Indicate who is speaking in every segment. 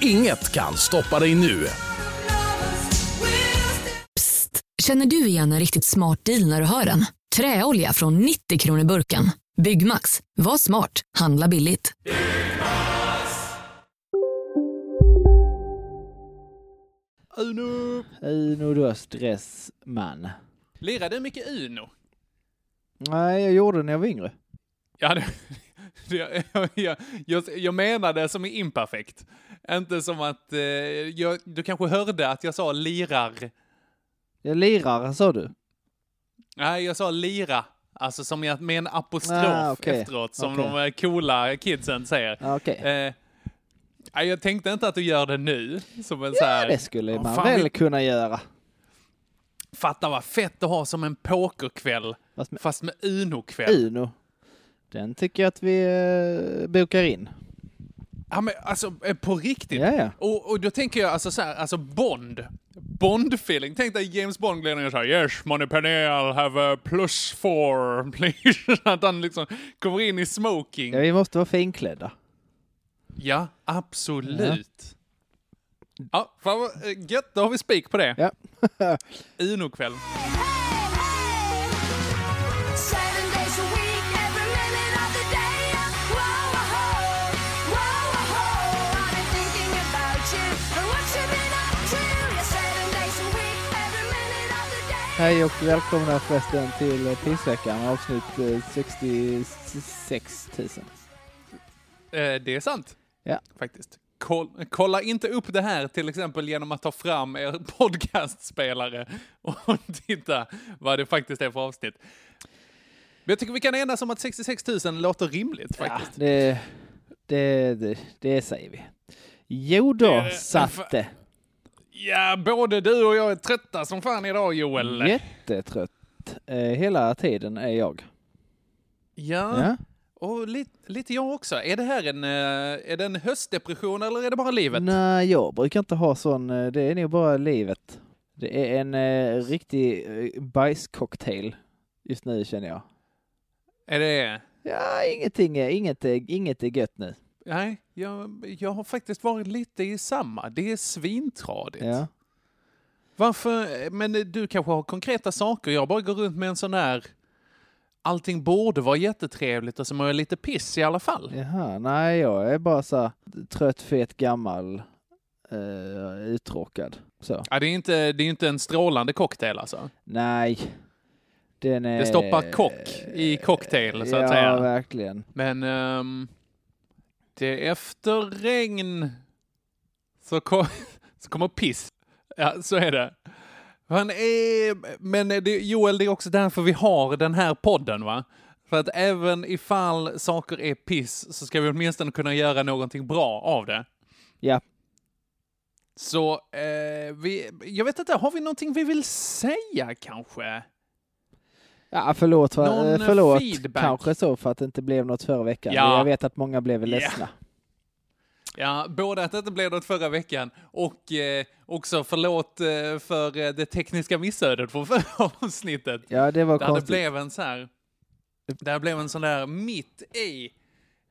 Speaker 1: Inget kan stoppa dig nu.
Speaker 2: Psst! Känner du igen en riktigt smart deal när du hör den? Träolja från 90 kronor burken. Byggmax. Var smart. Handla billigt.
Speaker 3: Uno!
Speaker 4: Uno då, stressman.
Speaker 3: Lirade du mycket Uno?
Speaker 4: Nej, jag gjorde det när jag var yngre.
Speaker 3: Ja, det, jag, jag, jag, jag menade som är imperfekt. Inte som att... Eh, jag, du kanske hörde att jag sa lirar.
Speaker 4: Jag lirar, sa du?
Speaker 3: Nej, jag sa lira. Alltså som jag, med en apostrof
Speaker 4: Ah, okej.
Speaker 3: efteråt, som
Speaker 4: Okej.
Speaker 3: de eh, coola kidsen säger.
Speaker 4: Ja, Okej.
Speaker 3: Eh, nej, jag tänkte inte att du gör det nu. Som en så
Speaker 4: Ja,
Speaker 3: här,
Speaker 4: det skulle
Speaker 3: Åh,
Speaker 4: man
Speaker 3: fan,
Speaker 4: väl
Speaker 3: vi-
Speaker 4: kunna göra.
Speaker 3: Fatta vad fett att ha som en pokerkväll,
Speaker 4: Fast med
Speaker 3: fast med Uno-kväll.
Speaker 4: Uno. Den tycker jag att vi eh, bokar in.
Speaker 3: Ja, men alltså eh, på riktigt.
Speaker 4: Ja, ja.
Speaker 3: Och, och då tänker jag alltså så här, alltså Bond. Bond-feeling. Tänk dig James Bond glider ner och säger Yes, money panel have a plus four, please. Att han liksom kommer in i smoking.
Speaker 4: Ja, vi måste vara finklädda.
Speaker 3: Ja, absolut. Ja, fan vad eh, gött. Då har vi spik på det.
Speaker 4: Ja.
Speaker 3: Uno-kväll.
Speaker 5: Seven days a week, every minute of the day. Whoa, whoa, whoa, whoa. I've been thinking about you and what you've been up to. Yeah, seven days a week, every minute of the day.
Speaker 4: Hej och välkomna förresten till eh, pissveckan avsnitt eh, 66 000.
Speaker 3: Eh, det är sant.
Speaker 4: Ja.
Speaker 3: Faktiskt. Koll, kolla inte upp det här till exempel genom att ta fram er podcastspelare och titta vad det faktiskt är för avsnitt. Men jag tycker vi kan enas om att 66 000 låter rimligt
Speaker 4: Ja,
Speaker 3: faktiskt.
Speaker 4: det, det, det, det säger vi. Jo då,
Speaker 3: Eh,
Speaker 4: Satte.
Speaker 3: Ja, både du och jag är trötta som fan idag Joel.
Speaker 4: Jättetrött. Eh, Hela tiden är jag.
Speaker 3: Ja,
Speaker 4: Ja.
Speaker 3: och lite, lite jag också. Är det här en, eh, är det en höstdepression eller är det bara livet?
Speaker 4: Nej, jag brukar inte ha sån. eh, Det är nog bara livet. Det är en eh, riktig eh, bajscocktail just nu känner jag.
Speaker 3: Är det
Speaker 4: Ja, ingenting, är- inget, är- inget är gött nu.
Speaker 3: Nej, jag, jag har faktiskt varit lite i samma. Det är svintradigt.
Speaker 4: Ja.
Speaker 3: Varför? Men du kanske har konkreta saker. Jag bara går runt med en sån här... Allting borde vara jättetrevligt och så mår jag lite piss i alla fall.
Speaker 4: Jaha, nej, jag är bara så här trött, fet, gammal, eh, uttråkad. Så.
Speaker 3: Ja, det, är inte, det är inte en strålande cocktail alltså.
Speaker 4: Nej. Den är...
Speaker 3: Det stoppar kock i cocktail så att
Speaker 4: ja,
Speaker 3: säga.
Speaker 4: verkligen.
Speaker 3: Men ehm, det är efter regn så, kom, så kommer piss. Ja, så är det. Han är, men det, Joel, det är också därför vi har den här podden, va? För att även ifall saker är piss så ska vi åtminstone kunna göra någonting bra av det.
Speaker 4: Ja,
Speaker 3: Så eh, vi, jag vet inte, har vi någonting vi vill säga kanske?
Speaker 4: Ja, förlåt, va-
Speaker 3: Någon,
Speaker 4: eh, förlåt
Speaker 3: feedback?
Speaker 4: kanske så för att det inte blev något förra veckan.
Speaker 3: Ja.
Speaker 4: Jag vet att många blev
Speaker 3: Ja.
Speaker 4: ledsna.
Speaker 3: Ja, både att det inte blev något förra veckan och eh, också förlåt eh, för eh, det tekniska missödet från förra avsnittet.
Speaker 4: Ja, det var
Speaker 3: Där det
Speaker 4: konstigt.
Speaker 3: blev en så här, där det blev en sån där mitt i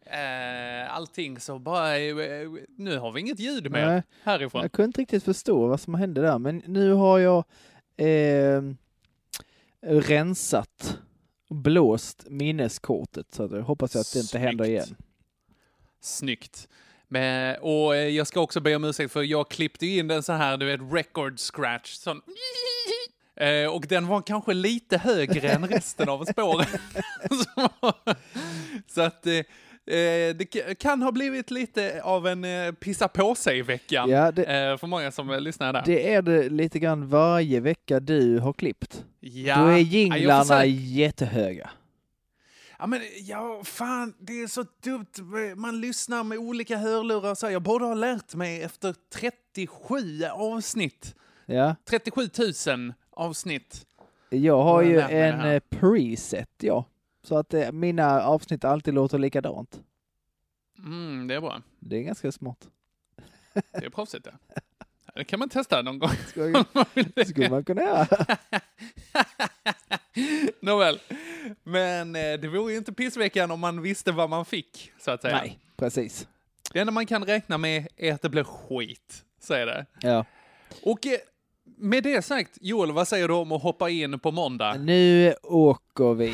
Speaker 3: eh, allting så bara, eh, nu har vi inget ljud mer
Speaker 4: Nej.
Speaker 3: härifrån.
Speaker 4: Jag kunde inte riktigt förstå vad som hände där, men nu har jag eh, rensat, blåst minneskortet, så att jag hoppas att det inte händer
Speaker 3: Snyggt.
Speaker 4: igen.
Speaker 3: Snyggt. Men, och eh, jag ska också be om ursäkt för jag klippte ju in den så här, du vet, record scratch. Sån. Eh, och den var kanske lite högre än resten av spåren. Så- så att eh, eh, det k- kan ha blivit lite av en eh, pissa på sig-vecka
Speaker 4: Ja, det-
Speaker 3: eh, för många som eh, lyssnar där.
Speaker 4: Det är det lite grann varje vecka du har klippt.
Speaker 3: ja,
Speaker 4: Då är
Speaker 3: Ja, jag
Speaker 4: jinglarna
Speaker 3: försöker-
Speaker 4: jättehöga.
Speaker 3: Ja, men, ja, fan, det är så dumt. Man lyssnar med olika hörlurar. och Så här. jag borde ha lärt mig efter 37 avsnitt.
Speaker 4: Ja.
Speaker 3: 37 000 avsnitt.
Speaker 4: Jag har
Speaker 3: Jag
Speaker 4: ju
Speaker 3: lär mig det
Speaker 4: en
Speaker 3: här.
Speaker 4: eh, preset, ja. Så att eh, mina avsnitt alltid låter likadant.
Speaker 3: Mm, det är bra.
Speaker 4: Det är ganska smart.
Speaker 3: Det är proffsigt det. Ja, Det kan man testa någon gång.
Speaker 4: Skulle, skulle man kunna göra.
Speaker 3: Nåväl. Men eh, det vore ju inte pissveckan om man visste vad man fick, så att säga.
Speaker 4: Nej, precis.
Speaker 3: Det enda man kan räkna med är att det blir skit, säger det.
Speaker 4: Ja.
Speaker 3: Och eh, med det sagt, Joel, vad säger du om att hoppa in på måndag?
Speaker 4: Nu åker vi.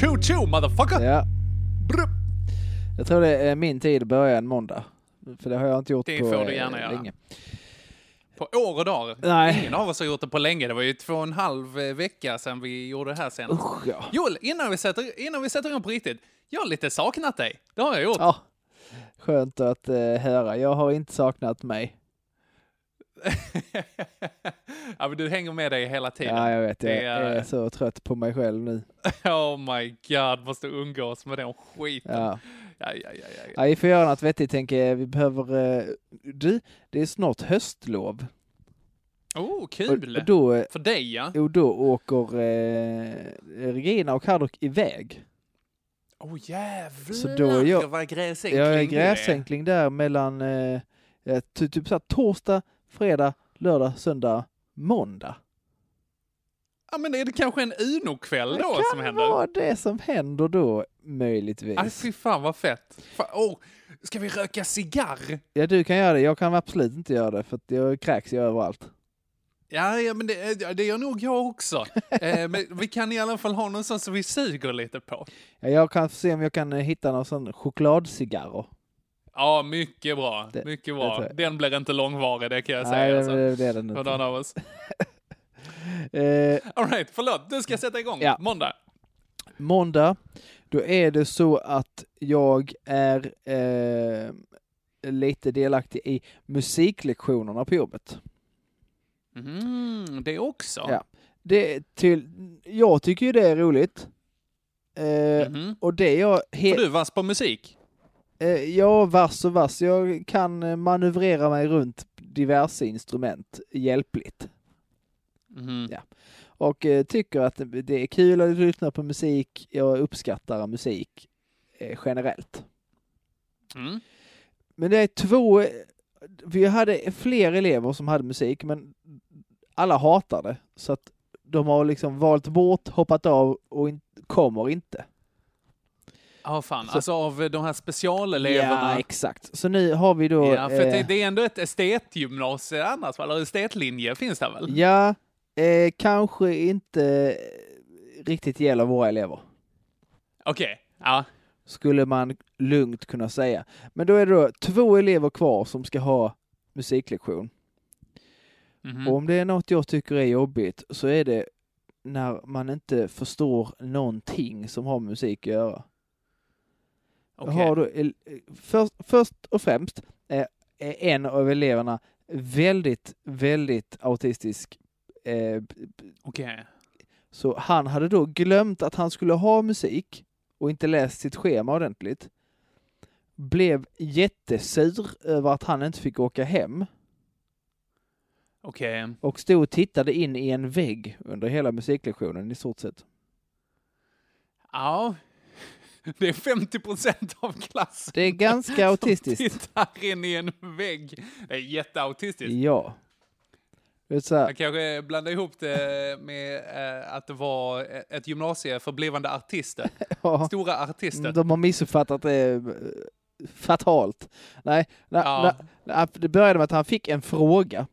Speaker 3: Choo choo motherfucker!
Speaker 4: Ja.
Speaker 3: Brup.
Speaker 4: Jag tror det är min tid börjar en måndag. För det har jag inte gjort
Speaker 3: Det
Speaker 4: på
Speaker 3: får du
Speaker 4: eh,
Speaker 3: gärna göra.
Speaker 4: länge.
Speaker 3: På år och dagar.
Speaker 4: Nej.
Speaker 3: Ingen av oss har gjort det på länge. Det var ju två och en halv eh, vecka sedan vi gjorde det här sen.
Speaker 4: Usch, ja.
Speaker 3: Joel, innan vi sätter, innan vi sätter igång på riktigt. Jag har lite saknat dig. Det har jag gjort.
Speaker 4: ja. Skönt att eh, höra. Jag har inte saknat mig.
Speaker 3: ja, men du hänger med dig hela tiden.
Speaker 4: Ja, jag vet. Jag
Speaker 3: Det är-
Speaker 4: är så trött på mig själv nu.
Speaker 3: Oh my god, måste umgås med den skiten.
Speaker 4: Ja.
Speaker 3: Ja, ja, ja, ja, ja.
Speaker 4: Ja, vi får göra något vettigt tänker jag. Vi behöver... eh, Du, det är snart höstlov.
Speaker 3: Oh,
Speaker 4: Och,
Speaker 3: kul!
Speaker 4: och då, eh,
Speaker 3: För dig, ja.
Speaker 4: och då åker eh, Regina och Haddock iväg.
Speaker 3: Åh oh, jävlar
Speaker 4: Så då är jag-
Speaker 3: vad gräsänkling
Speaker 4: Jag är
Speaker 3: du
Speaker 4: gräsänkling där mellan eh, eh, ty- typ så här, torsdag, fredag, lördag, söndag, måndag.
Speaker 3: Ja, men är det kanske en Uno-kväll
Speaker 4: Det
Speaker 3: då
Speaker 4: kan
Speaker 3: som händer?
Speaker 4: vara det som händer då,
Speaker 3: Aj,
Speaker 4: möjligtvis.
Speaker 3: fy fan vad fett. Fan, oh, ska vi röka cigarr?
Speaker 4: Ja, du kan göra det. Jag kan absolut inte göra det för att jag kräks ju överallt.
Speaker 3: Ja, ja men det, det gör nog jag också. eh, men vi kan i alla fall ha någon sån som vi suger lite på.
Speaker 4: Ja, Jag kan se om jag kan eh, hitta någon sån chokladcigarrer.
Speaker 3: Ja, mycket bra.
Speaker 4: Det-
Speaker 3: mycket
Speaker 4: det
Speaker 3: bra.
Speaker 4: tror jag.
Speaker 3: Den blir inte långvarig, det kan jag
Speaker 4: Nej,
Speaker 3: säga. Alltså.
Speaker 4: det, det är den
Speaker 3: För
Speaker 4: inte.
Speaker 3: någon av oss.
Speaker 4: Eh,
Speaker 3: All right, förlåt. Du ska jag sätta igång.
Speaker 4: Ja.
Speaker 3: Måndag.
Speaker 4: måndag, då är det så att jag är eh, lite delaktig i musiklektionerna på jobbet.
Speaker 3: Mm, det också.
Speaker 4: Ja. Det till, jag tycker ju det är roligt. Eh,
Speaker 3: Mhm.
Speaker 4: Och det jag...
Speaker 3: För
Speaker 4: He-
Speaker 3: du är vass på musik.
Speaker 4: eh, ja, vass och vass. Jag kan eh, manövrera mig runt diverse instrument hjälpligt.
Speaker 3: Mhm.
Speaker 4: Ja. Och eh, tycker att det är kul att lyssna på musik. Jag uppskattar musik eh, generellt.
Speaker 3: Mm.
Speaker 4: Men det är två... Vi hade fler elever som hade musik, men alla hatar det. Så att de har liksom valt bort, hoppat av och in, kommer inte.
Speaker 3: Ja, fan.
Speaker 4: Så-
Speaker 3: Alltså av eh, de här specialeleverna.
Speaker 4: Ja, exakt. Så nu har vi då...
Speaker 3: Ja, för det,
Speaker 4: eh,
Speaker 3: det är ändå ett estetgymnasium annars, va? eller estetlinje finns det väl?
Speaker 4: ja eh, kanske inte riktigt gäller våra elever,
Speaker 3: Okej, ja.
Speaker 4: skulle man lugnt kunna säga. Men då är det då två elever kvar som ska ha musiklektion.
Speaker 3: Mhm.
Speaker 4: Och om det är något jag tycker är jobbigt så är det när man inte förstår någonting som har med musik att göra. Jag
Speaker 3: Okej.
Speaker 4: Har då, el- först, först och främst eh, är en av eleverna väldigt, väldigt autistisk. Eh, b- b-
Speaker 3: Okej.
Speaker 4: Så han hade då glömt att han skulle ha musik och inte läst sitt schema ordentligt. Blev jättesur över att han inte fick åka hem
Speaker 3: Okej.
Speaker 4: och stod och tittade in i en vägg under hela musiklektionen i stort sett.
Speaker 3: Ja. Det är 50 procent av klassen
Speaker 4: Det är ganska autistiskt.
Speaker 3: tittar in i en vägg. Det är jätteautistiskt.
Speaker 4: Ja. Det är så här,
Speaker 3: Jag kanske blandade ihop det med eh, att det var ett gymnasium för blivande artister.
Speaker 4: ja, mm,
Speaker 3: Stora artister.
Speaker 4: de har missuppfattat det eh, fatalt. Nej, na,
Speaker 3: Ja.
Speaker 4: na, na, det började med att han fick en fråga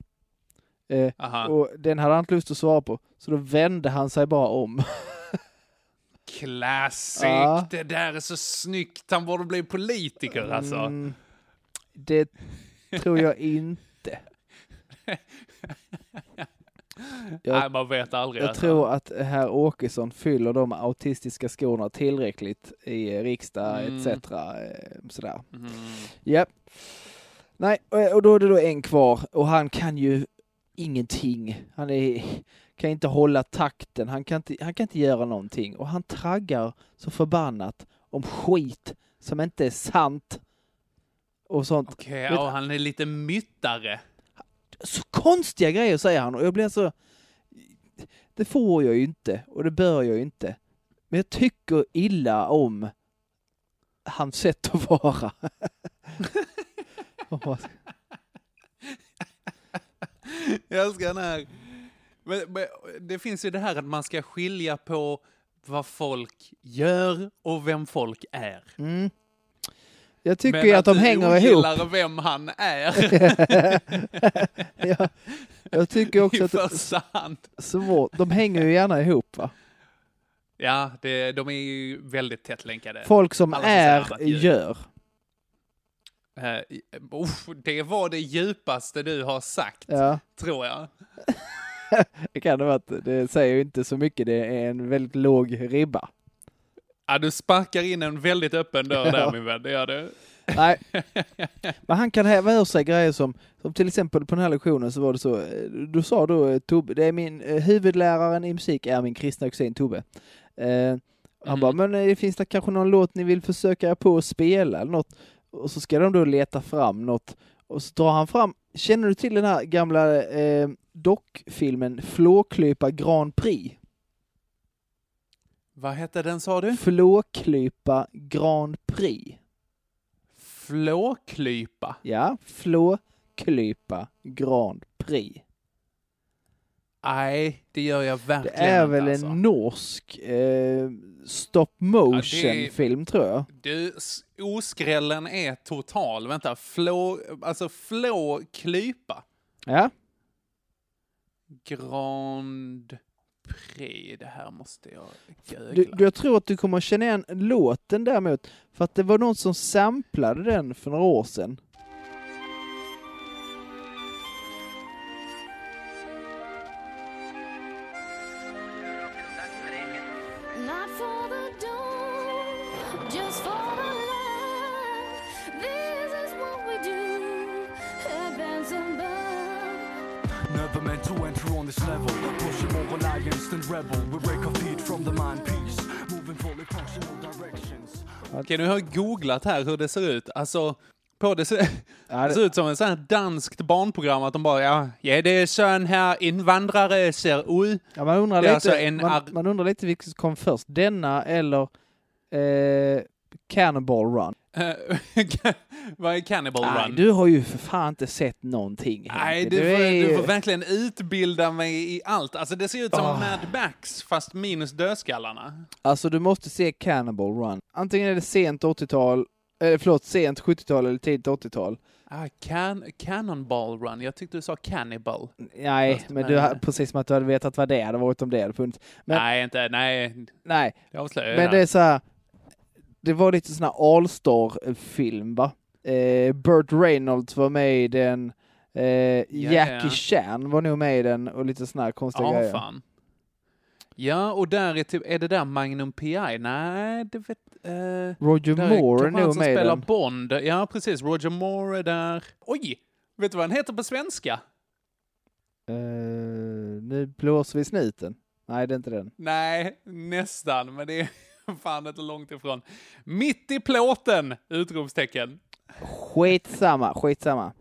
Speaker 4: eh,
Speaker 3: Aha.
Speaker 4: och den hade han inte lust att svara på. Så då vände han sig bara om.
Speaker 3: Classic!
Speaker 4: Ja.
Speaker 3: Det där är så snyggt. Han borde bli politiker alltså.
Speaker 4: Mm, det tror jag inte. Jag-
Speaker 3: Nej, man vet aldrig.
Speaker 4: Jag
Speaker 3: alltså.
Speaker 4: tror att herr Åkesson fyller de autistiska skorna tillräckligt i eh, riksdag
Speaker 3: Mm.
Speaker 4: etc. eh, Sådär. eh,
Speaker 3: Mm.
Speaker 4: Japp. Nej, och- och då är det då en kvar och han kan ju ingenting. Han är, kan inte hålla takten, han kan inte, han kan inte göra någonting och han traggar så förbannat om skit som inte är sant. Och sånt.
Speaker 3: Okej,
Speaker 4: Vet-
Speaker 3: och han är lite myttare.
Speaker 4: Så konstiga grejer säger han och jag blir så... Det får jag ju inte och det bör jag ju inte. Men jag tycker illa om hans sätt att vara. Om man ska-
Speaker 3: Jag älskar den här. Men, men, det finns ju det här att man ska skilja på vad folk gör och vem folk är.
Speaker 4: Mm. Jag tycker
Speaker 3: Men
Speaker 4: ju att de
Speaker 3: du
Speaker 4: hänger ihop.
Speaker 3: ogillar vem han är
Speaker 4: jag, jag tycker också
Speaker 3: i
Speaker 4: att det
Speaker 3: första hand.
Speaker 4: är svårt. De hänger ju gärna ihop va?
Speaker 3: Ja, det, de är ju väldigt tätt länkade.
Speaker 4: Folk som
Speaker 3: Alla som säger
Speaker 4: är
Speaker 3: annat ljuger.
Speaker 4: gör.
Speaker 3: Eh, uff, det var det djupaste du har sagt,
Speaker 4: Ja,
Speaker 3: tror jag.
Speaker 4: det kan det vara. att Det säger ju inte så mycket. Det är en väldigt låg ribba.
Speaker 3: Ja, du sparkar in en väldigt öppen dörr där, min vän. Det gör du.
Speaker 4: Nej. Men han kan häva ur sig grejer som, som till exempel på den här lektionen så var det så, eh, då sa då eh, Tobbe, det är min, eh, huvudläraren i musik är min kristna kusin Tobbe. Eh, han
Speaker 3: Mhm.
Speaker 4: bara, men eh, finns det kanske någon låt ni vill försöka er på att spela eller något? Och så ska de då leta fram något. Och så drar han fram, känner du till den här gamla eh, dockfilmen Flåklypa Grand Prix?
Speaker 3: Vad hette den, sa du?
Speaker 4: Flåklypa Grand Prix.
Speaker 3: Flåklypa.
Speaker 4: Ja, Flåklypa Grand Prix.
Speaker 3: Nej, det gör jag
Speaker 4: Det
Speaker 3: verkligen
Speaker 4: är väl
Speaker 3: inte,
Speaker 4: en
Speaker 3: alltså.
Speaker 4: norsk eh, stop
Speaker 3: Ja, det är-
Speaker 4: motion-film tror jag.
Speaker 3: Du, s- oskrällen är total. Vänta, flå... Alltså, flåklypa.
Speaker 4: Ja,
Speaker 3: Grand Prix. Det här måste jag googla.
Speaker 4: du, du, jag tror att du kommer att känna igen låten däremot, för att det var någon som samplade den för några år sedan.
Speaker 5: Not for the dawn, just for the love. This is what we do. Heavens above.
Speaker 6: Never meant to enter on this level. Pushing more reliance than rebel. We break our feet from the mind piece. Moving fully functional directions.
Speaker 3: Okej, nu har jag googlat här hur det ser ut. Alltså, på det, ser,
Speaker 4: Ja,
Speaker 3: det
Speaker 4: det-
Speaker 3: ser ut som en sån här danskt barnprogram att de bara, ja, ja det är så en här invandrare ser ut.
Speaker 4: Ja, man, undrar
Speaker 3: Det
Speaker 4: lite,
Speaker 3: är alltså en
Speaker 4: man,
Speaker 3: ar-
Speaker 4: man undrar lite vilket som kom först, denna eller eh, Cannonball Run.
Speaker 3: Eh, Vad är Cannibal
Speaker 4: Nej,
Speaker 3: Run?
Speaker 4: du har ju för fan inte sett någonting.
Speaker 3: Nej,
Speaker 4: Henke.
Speaker 3: du, får,
Speaker 4: är-
Speaker 3: du får verkligen utbilda mig i allt. Alltså det ser ut som Mad Max fast minus dödskallarna.
Speaker 4: Alltså du måste se Cannibal Run. Antingen är det sent 80-tal, eller förlåt, sent 70-tal eller tidigt 80-tal.
Speaker 3: Ah, can, cannonball Run, jag tyckte du sa Cannibal.
Speaker 4: Nej,
Speaker 3: Fast
Speaker 4: men
Speaker 3: med-
Speaker 4: du har, precis som att du hade vetat vad det hade varit om det hade funnits. Men nej,
Speaker 3: Nej, inte, nej, det avslöjar jag
Speaker 4: men det
Speaker 3: redan.
Speaker 4: är så här. Det var lite sån här All-star-film va? Eh, Burt Reynolds var med i den, eh, Jackie
Speaker 3: ja.
Speaker 4: Chan var nog med i den och lite såna här konstiga
Speaker 3: Ja,
Speaker 4: grejer.
Speaker 3: fan. Ja, och där är, typ, är det där Magnum P.I.? Nej, det vet... eh,
Speaker 4: Roger
Speaker 3: där
Speaker 4: Moore är
Speaker 3: kanske han
Speaker 4: nog
Speaker 3: som
Speaker 4: med i
Speaker 3: spelar
Speaker 4: den.
Speaker 3: Bond. Ja, precis. Roger Moore är där. Oj! Vet du vad han heter på svenska?
Speaker 4: Eh, nu blåser vi snuten. Nej, det är inte den.
Speaker 3: Nej, nästan, men det är fan inte långt ifrån. Mitt i plåten! Utropstecken.
Speaker 4: Skitsamma, skitsamma.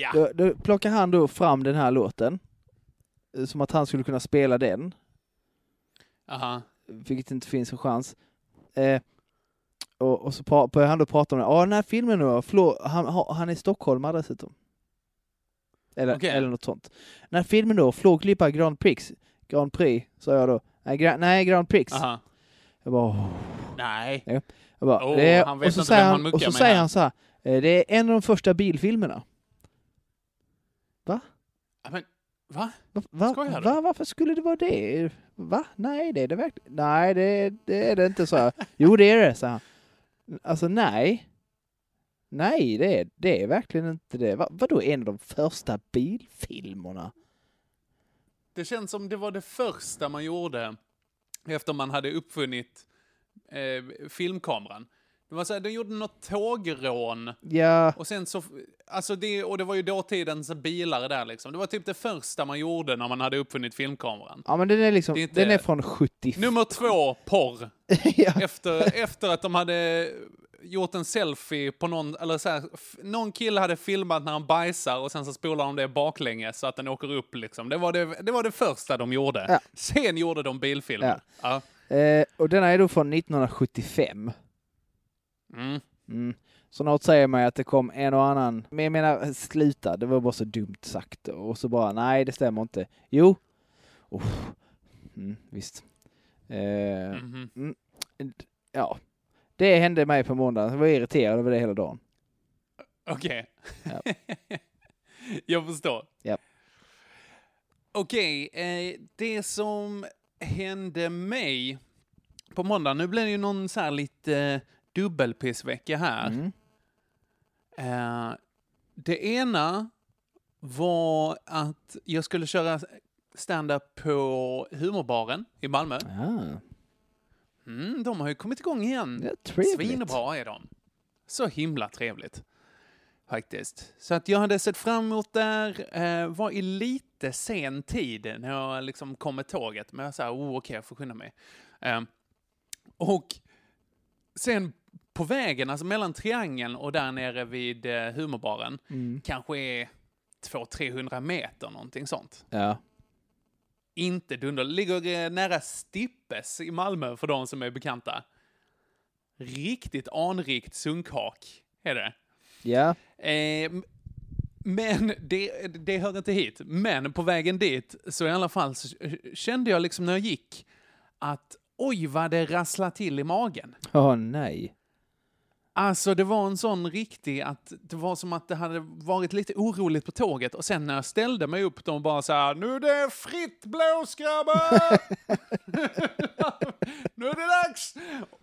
Speaker 3: Ja!
Speaker 4: Då, då plockar han då fram den här låten. eh, Som att han skulle kunna spela den,
Speaker 3: Aha.
Speaker 4: vilket inte finns en chans. Eh, och, och så pra- börjar han då prata om det. Ja, den här filmen då, Flå, han, ha- han är stockholmare dessutom. Eller,
Speaker 3: Okej.
Speaker 4: eller något sånt. Den här filmen då, Flåglipa Grand Prix, Grand Prix, sa jag då. Nej, Grand, nej, Grand Prix.
Speaker 3: Aha.
Speaker 4: Jag bara, "Åh."
Speaker 3: Nej.
Speaker 4: jag bara,
Speaker 3: Åh,
Speaker 4: det är,
Speaker 3: han vet
Speaker 4: och så
Speaker 3: inte
Speaker 4: säger
Speaker 3: vem han
Speaker 4: han,
Speaker 3: muckar
Speaker 4: och så
Speaker 3: med
Speaker 4: säger
Speaker 3: här.
Speaker 4: han så här, eh, det är en av de första bilfilmerna.
Speaker 3: Ja, Men, va?
Speaker 4: Va, va,
Speaker 3: Skojar du?
Speaker 4: va, varför skulle det vara det? Va? Nej, det är det verkligen. Nej, det, det är det inte, så. Jo, det är det, sa han. Alltså, nej. Nej, det är, det är verkligen inte det. Va, vadå en av de första bilfilmerna?
Speaker 3: Det känns som det var det första man gjorde efter man hade uppfunnit eh, filmkameran. Det var så här, de gjorde något tågrån.
Speaker 4: Ja,
Speaker 3: Och sen så, alltså det, och det var ju dåtidens bilar där liksom. Det var typ det första man gjorde när man hade uppfunnit filmkameran.
Speaker 4: ja men den är liksom,
Speaker 3: Det är inte-
Speaker 4: den är från 70.
Speaker 3: Nummer två, porr.
Speaker 4: ja.
Speaker 3: Efter, efter att de hade gjort en selfie på någon, eller så här, f- någon kille hade filmat när han bajsar och sen så spolar de det baklänges så att den åker upp liksom. Det var det, det, var det första de gjorde.
Speaker 4: Ja.
Speaker 3: Sen gjorde de bilfilmer. Ja.
Speaker 4: Eh, och den är då från 1975.
Speaker 3: Mm.
Speaker 4: Mm. Så något säger mig att det kom en och annan, men jag menar sluta, det var bara så dumt sagt och så bara nej det stämmer inte. Jo, oh. mm, visst. Eh,
Speaker 3: Mhm.
Speaker 4: Ja, det hände mig på måndagen, jag var irriterad över det hela dagen.
Speaker 3: Okej. Jag förstår.
Speaker 4: Japp.
Speaker 3: Okej, eh, det som hände mig på måndag, nu blir det ju någon så här lite eh, dubbelpissvecka här.
Speaker 4: Mm.
Speaker 3: Eh, det ena var att jag skulle köra stand-up på Humorbaren i Malmö.
Speaker 4: Ah,
Speaker 3: Mm, de har ju kommit igång igen.
Speaker 4: det är trevligt.
Speaker 3: Svinbra är de. Så himla trevligt. Faktiskt. Så att jag hade sett fram emot där, eh, var i lite sen tid när jag liksom kom med tåget. Men jag sa, oh, okej, jag får skynda mig. Eh, och sen på vägen, alltså mellan triangeln och där nere vid eh, humorbaren, kanske är 200-300 meter, någonting sånt
Speaker 4: Ja.
Speaker 3: inte dunder. Ligger eh, nära Stippes i Malmö för de som är bekanta. Riktigt anrikt sunkhak är det.
Speaker 4: ja,
Speaker 3: Eh, m- men det, det hör inte hit. Men på vägen dit så i alla fall så eh, kände jag liksom när jag gick att oj vad det rasslar till i magen.
Speaker 4: åh nej.
Speaker 3: Alltså det var en sån riktig att det var som att det hade varit lite oroligt på tåget och sen när jag ställde mig upp de bara så här nu är det fritt blås grabbar! nu är det dags!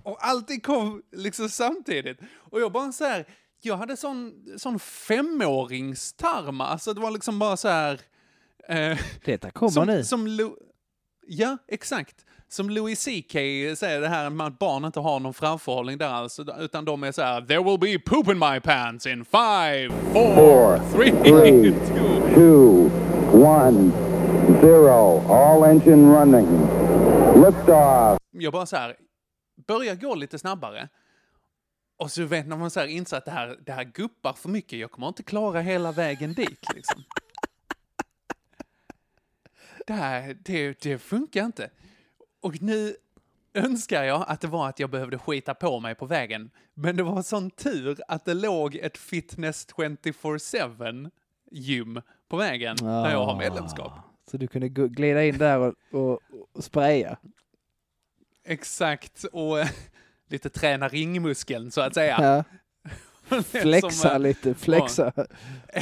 Speaker 3: Och allting kom liksom samtidigt. Och jag bara så här, jag hade sån, sån femåringstarm, alltså det var liksom bara så här eh,
Speaker 4: Detta kommer
Speaker 3: som,
Speaker 4: nu.
Speaker 3: Som Lo- ja, exakt. Som Louis CK säger det här med att barn inte har någon framförhållning där alls, utan de är så här “There will be poop in my pants in five, four, three, two.
Speaker 7: two, one, zero. All engine running. Liftoff.
Speaker 3: Jag bara så här, börjar gå lite snabbare. Och så vet när man så här inser att det här, det här guppar för mycket, jag kommer inte klara hela vägen dit liksom. Det här, det, det funkar inte. Och nu önskar jag att det var att jag behövde skita på mig på vägen. Men det var sån tur att det låg ett Fitness 24-7 gym på vägen när jag har medlemskap.
Speaker 4: Så du kunde gu- glida in där och, och, och spraya.
Speaker 3: Exakt, och lite träna ringmuskeln så att säga.
Speaker 4: Ja. Flexa
Speaker 3: Som, eh,
Speaker 4: lite, flexa.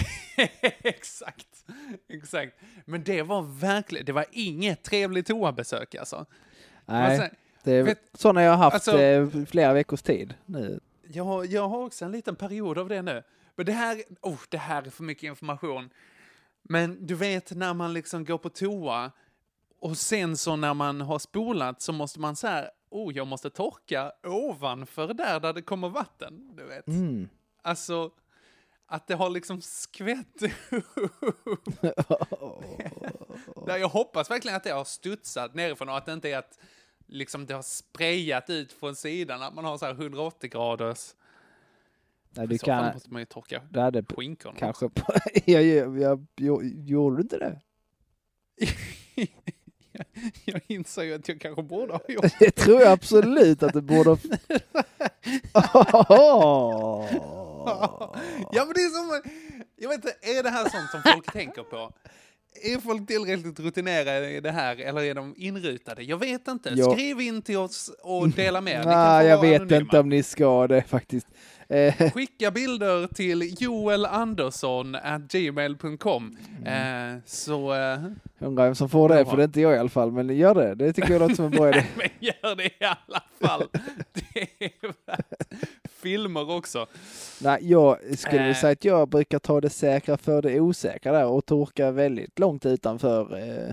Speaker 3: exakt, exakt. Men det var verkligen, det var inget trevligt toabesök alltså.
Speaker 4: Nej.
Speaker 3: Alltså,
Speaker 4: Det är
Speaker 3: Vet-
Speaker 4: sådana jag har haft
Speaker 3: alltså-
Speaker 4: eh, flera veckors tid nu.
Speaker 3: jag, har- jag har också en liten period av det nu. Men det här, oh, det här är för mycket information. Men du vet när man liksom går på toa och sen så när man har spolat så måste man så här, oh, jag måste torka ovanför där, där det kommer vatten. Du vet. Alltså, att det har liksom skvätt upp. Där jag hoppas verkligen att det har studsat nerifrån och att det inte är att liksom det har sprayat ut från sidan, att man har så här 180 graders...
Speaker 4: Nej,
Speaker 3: I
Speaker 4: du
Speaker 3: så fall
Speaker 4: kan,
Speaker 3: måste man ju torka
Speaker 4: du hade p-
Speaker 3: skinkorna.
Speaker 4: kanske... jag, jag, jag, jag, gjorde du inte det?
Speaker 3: jag, jag inser ju att jag kanske borde ha gjort
Speaker 4: Det tror jag absolut att du borde...
Speaker 3: Ja, men det är som... Jag vet inte, är det här sånt som folk tänker på? Är folk tillräckligt rutinerade i det här eller är de inrutade? Jag vet inte.
Speaker 4: Ja.
Speaker 3: Skriv in till oss och dela med er. Ni kan
Speaker 4: Nej,
Speaker 3: få
Speaker 4: jag
Speaker 3: vara
Speaker 4: vet
Speaker 3: anonyma.
Speaker 4: inte om ni ska det faktiskt. Eh,
Speaker 3: Skicka bilder till joelandersson.gmail.com
Speaker 4: Mm.
Speaker 3: eh, så... Eh,
Speaker 4: undrar vem som får det, för det är inte jag i alla fall. Men gör det, det tycker jag låter som en bra idé.
Speaker 3: men gör det i alla fall. Det är värt filmer också.
Speaker 4: Nej, jag skulle
Speaker 3: Eh.
Speaker 4: väl säga att jag brukar ta det säkra för det osäkra där och torka väldigt långt utanför eh,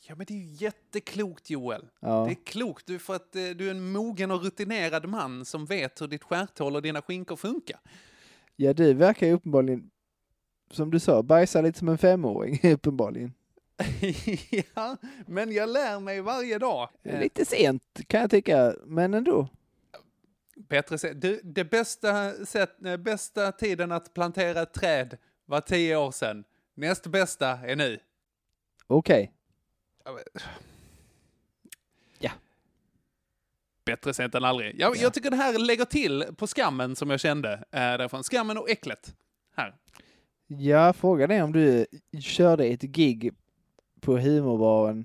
Speaker 3: Ja, men det är ju jätteklokt, Joel.
Speaker 4: Ja.
Speaker 3: Det är klokt, du, för att eh, du är en mogen och rutinerad man som vet hur ditt stjärthål och dina skinkor funkar.
Speaker 4: ja, du verkar ju uppenbarligen, som du sa, bajsa lite som en femåring uppenbarligen.
Speaker 3: ja, men jag lär mig varje dag. Eh,
Speaker 4: Lite sent kan jag tycka, men ändå.
Speaker 3: Bättre sätt. eh, Du, det bästa, sätt, eh, bästa tiden att plantera ett träd var tio år sedan. Näst bästa är nu.
Speaker 4: Okej.
Speaker 3: Ja, men-
Speaker 4: Ja.
Speaker 3: Bättre sent än aldrig. Jag, jag tycker det här lägger till på skammen som jag kände eh, därifrån. Skammen och äcklet. Här.
Speaker 4: Ja, frågan är om du körde ett gig på humorbaren.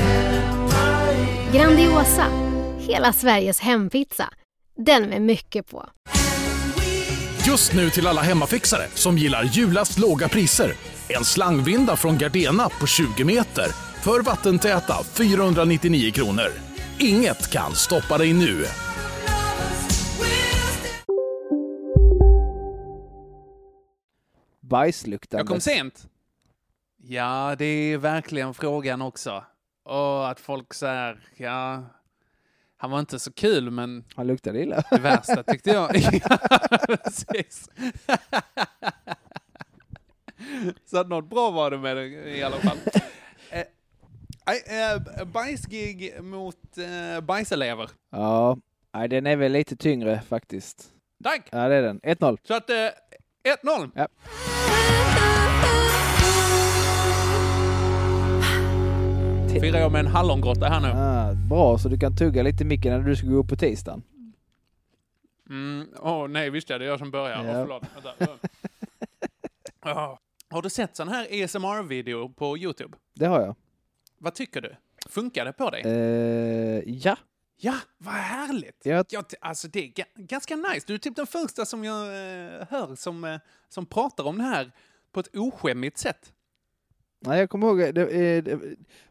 Speaker 8: Grandiosa, hela Sveriges hempizza. Den med mycket på.
Speaker 1: Just nu till alla hemmafixare som gillar Julas låga priser. En slangvinda från Gardena på 20 meter för vattentäta 499 kronor. Inget kan stoppa dig nu.
Speaker 4: Bajsluktande.
Speaker 3: Jag kom sent. Ja, det är verkligen frågan också. Och att folk säger, ja, han var inte så kul, men
Speaker 4: Han luktade illa.
Speaker 3: det värsta tyckte jag. Ja, precis. så att något bra var det med det i alla fall. Eh, nej, eh, bajsgig mot eh, bajselever.
Speaker 4: Ja, nej, den är väl lite tyngre faktiskt.
Speaker 3: Tack!
Speaker 4: Ja, det är den. 1-0.
Speaker 3: Så att eh, 1-0.
Speaker 4: Ja.
Speaker 3: Firar jag med en hallongrotta här nu.
Speaker 4: Ah, bra, så du kan tugga lite i micken när du ska gå upp på tisdagen.
Speaker 3: Mm, åh nej, visst ja, det är jag som börjar.
Speaker 4: Ja.
Speaker 3: Åh, förlåt. Vänta. Ah. Har du sett sån här ASMR-video på YouTube?
Speaker 4: Det har jag.
Speaker 3: Vad tycker du? Funkar det på dig?
Speaker 4: Eh, ja.
Speaker 3: Ja, vad härligt!
Speaker 4: Jag-
Speaker 3: Jag ty- alltså det är ga- ganska nice. Du är typ den första som jag eh, hör som, eh, som pratar om det här på ett oskämmigt sätt.
Speaker 4: Nej, jag kommer ihåg, det, eh, det,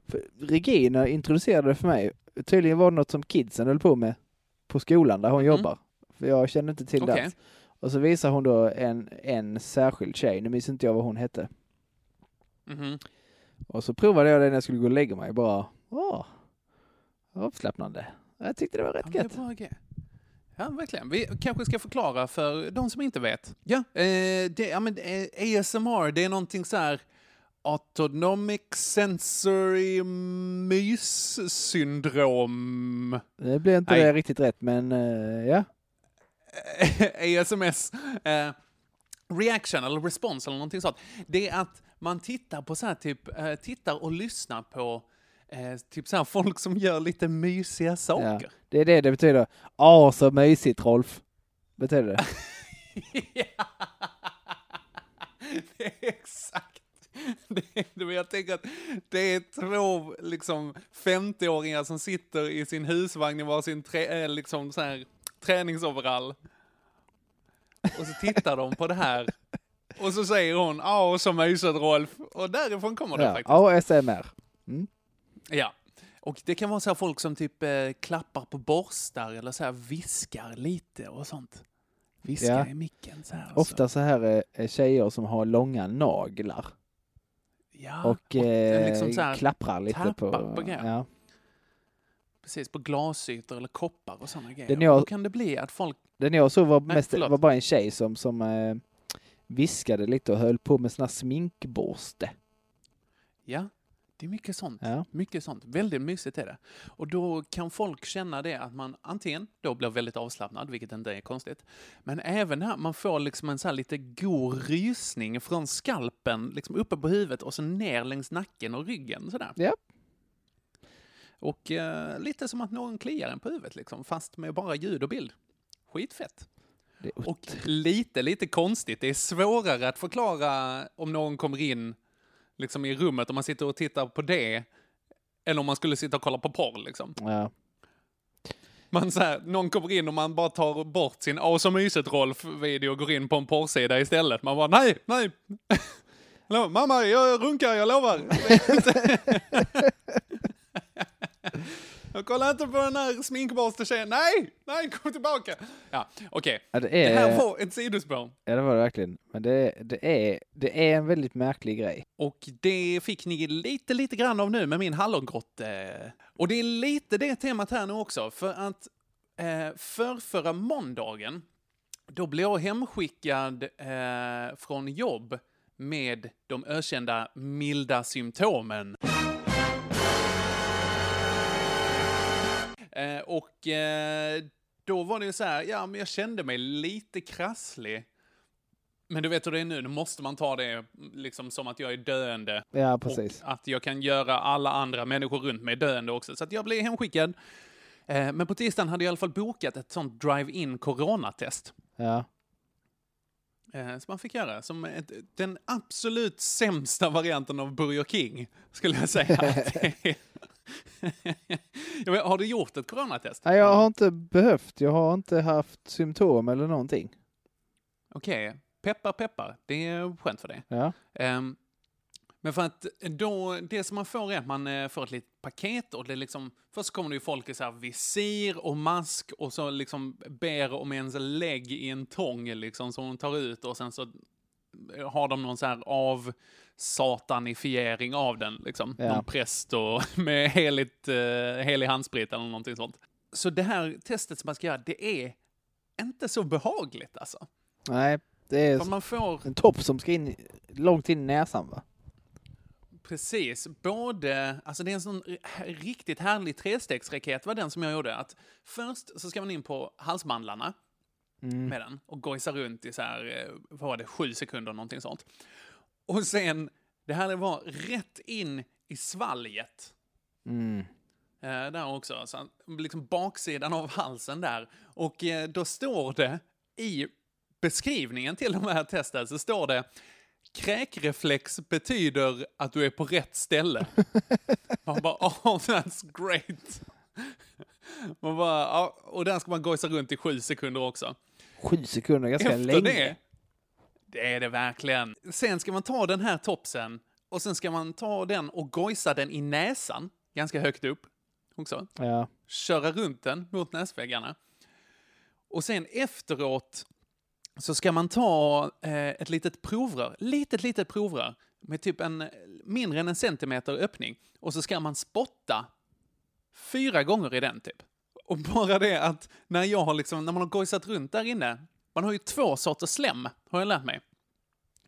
Speaker 4: för Regina introducerade det för mig. Tydligen var det något som kidsen höll på med på skolan där hon
Speaker 3: Mhm.
Speaker 4: jobbar. För jag kände inte till det
Speaker 3: Okej.
Speaker 4: alls. Och så visar hon då en, en särskild tjej, nu minns inte jag vad hon hette.
Speaker 3: Mhm.
Speaker 4: Och så provade jag det när jag skulle gå och lägga mig, bara åh, avslappnande. Jag tyckte det var
Speaker 3: Ja,
Speaker 4: rätt
Speaker 3: men
Speaker 4: gött.
Speaker 3: det är bra grej. Ja, verkligen. Vi kanske ska förklara för de som inte vet. Ja, eh, det, ja men eh, ASMR, det är någonting så här Autonomic Sensory Mys-syndrom.
Speaker 4: Det blev inte
Speaker 3: Nej.
Speaker 4: det riktigt rätt, men eh, ja.
Speaker 3: ASMS. Eh, reaction eller respons eller någonting sånt. Det är att man tittar på så här typ, eh, tittar och lyssnar på eh, typ så här folk som gör lite mysiga
Speaker 4: ja.
Speaker 3: saker.
Speaker 4: Det är det det betyder. Åh, så mysigt Rolf. Betyder det.
Speaker 3: Ja. Det är exakt. Det är, det- men jag tänker att det är två liksom, 50-åringar som sitter i sin husvagn i varsin trä, eh, liksom, så här, träningsoverall. Och så tittar de på det här. Och så säger hon ja och så myset Rolf. Och därifrån kommer det
Speaker 4: Ja,
Speaker 3: faktiskt. Alltså.
Speaker 4: ASMR.
Speaker 3: Ja. Och det kan vara så här folk som typ eh, klappar på borstar eller så här viskar lite och sånt. Viskar
Speaker 4: Ja.
Speaker 3: i micken så här. och så.
Speaker 4: Ofta så här är- är tjejer som har långa naglar
Speaker 3: Ja,
Speaker 4: och
Speaker 3: eh,
Speaker 4: eh,
Speaker 3: liksom så här,
Speaker 4: klapprar lite på...
Speaker 3: tappar på grejer.
Speaker 4: ja.
Speaker 3: precis, på glasytor eller koppar och sådana grejer.
Speaker 4: Den jag-
Speaker 3: Då kan det bli att folk...
Speaker 4: Den jag såg var,
Speaker 3: Nej,
Speaker 4: mest,
Speaker 3: förlåt.
Speaker 4: var bara en tjej som, som eh, viskade lite och höll på med sån här sminkborste.
Speaker 3: Ja, det är mycket sånt.
Speaker 4: Ja.
Speaker 3: Mycket sånt. Väldigt mysigt är det. Och då kan folk känna det att man antingen då blir väldigt avslappnad, vilket inte är konstigt, men även här, man får liksom en så här lite god rysning från skalpen, liksom uppe på huvudet och så ner längs nacken och ryggen sådär.
Speaker 4: Ja.
Speaker 3: Och eh, lite som att någon kliar en på huvudet liksom, fast med bara ljud och bild. Skitfett.
Speaker 4: Det är
Speaker 3: Och lite, lite konstigt. Det är svårare att förklara om någon kommer in liksom i rummet om man sitter och tittar på det eller om man skulle sitta och kolla på porr liksom.
Speaker 4: Ja.
Speaker 3: Man så här, någon kommer in och man bara tar bort sin Åh så mysigt Rolf-video och går in på en porrsida istället. Man bara nej, nej. Hallå, Mamma, jag runkar, jag lovar. jag kollar inte på den här sminkborste-tjejen. Nej, nej, kom tillbaka. Ja, okej.
Speaker 4: Ja, det
Speaker 3: Det
Speaker 4: är...
Speaker 3: här var ett sidospår.
Speaker 4: Ja, det var det verkligen. Men det, det, är, det är en väldigt märklig grej.
Speaker 3: Och det fick ni lite, lite grann av nu med min hallongrotte. Och det är lite det temat här nu också, för att eh, för förra måndagen, då blev jag hemskickad eh, från jobb med de ökända milda symptomen. Eh, och eh, då var det ju så här, ja men jag kände mig lite krasslig. Men du vet hur det är nu, då måste man ta det liksom som att jag är döende.
Speaker 4: Ja, precis.
Speaker 3: Att jag kan göra alla andra människor runt mig döende också. Så att jag blev hemskickad. Eh, Men på tisdagen hade jag i alla fall bokat ett sånt drive-in coronatest.
Speaker 4: Ja.
Speaker 3: eh, Som man fick göra. Som ett, den absolut sämsta varianten av Burger King, skulle jag säga. att det är. Jag vet, har du gjort ett coronatest?
Speaker 4: Nej, jag har inte behövt. Jag har inte haft symptom eller någonting.
Speaker 3: Okej, peppar peppar. Det är skönt för dig.
Speaker 4: Ja.
Speaker 3: Ehm, men för att då, det som man får är att man eh, får ett litet paket och det är liksom, först kommer det ju folk i så här visir och mask och så liksom ber om ens lägg i en tång liksom som de tar ut och sen så eh, har de någon så här av satanifiering av den liksom.
Speaker 4: Ja.
Speaker 3: Någon präst och med heligt, eh, helig handsprit eller någonting sånt. Så det här testet som man ska göra, det är inte så behagligt alltså.
Speaker 4: Nej, det är
Speaker 3: För man får
Speaker 4: en topp som ska in långt in i näsan, va?
Speaker 3: Precis. Både, alltså det är en sån r- riktigt härlig trestegsraket var den som jag gjorde. Att först så ska man in på halsmandlarna
Speaker 4: Mm.
Speaker 3: med den och gojsa runt i så här, eh, vad var det, sju sekunder någonting sånt. Och sen, det här var rätt in i svalget.
Speaker 4: Mm.
Speaker 3: Eh, där också, så att, liksom baksidan av halsen där. Och eh, då står det i beskrivningen till de här testen så står det kräkreflex betyder att du är på rätt ställe. Man bara, oh that's great. Man bara, ja, och där ska man gojsa runt i sju sekunder också.
Speaker 4: Sju sekunder, ganska
Speaker 3: Efter
Speaker 4: länge.
Speaker 3: det, det är det verkligen. Sen ska man ta den här topsen och sen ska man ta den och gojsa den i näsan, ganska högt upp också
Speaker 4: Ja.
Speaker 3: köra runt den mot näsväggarna. Och sen efteråt så ska man ta eh, ett litet provrör, litet, litet provrör med typ en mindre än en centimeter öppning och så ska man spotta fyra gånger i den typ. Och bara det att när jag har liksom, när man har gojsat runt där inne, man har ju två sorters slem, har jag lärt mig.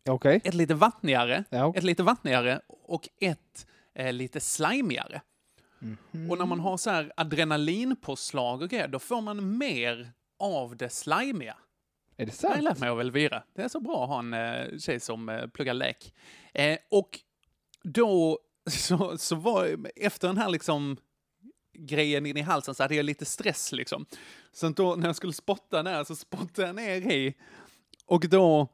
Speaker 4: Okej.
Speaker 3: Ett lite vattnigare, ett lite vattnigare och ett eh, lite slimigare. Och när man har så här adrenalinpåslag och grejer, då får man mer av det slimiga.
Speaker 4: Är det
Speaker 3: Det har
Speaker 4: sant?
Speaker 3: jag lärt mig av Elvira. Det är så bra att ha en eh, tjej som eh, pluggar läk. Eh, och då, så, så var efter den här liksom grejen in i halsen så hade jag lite stress liksom. Så att då när jag skulle spotta ner så spottade jag ner i och då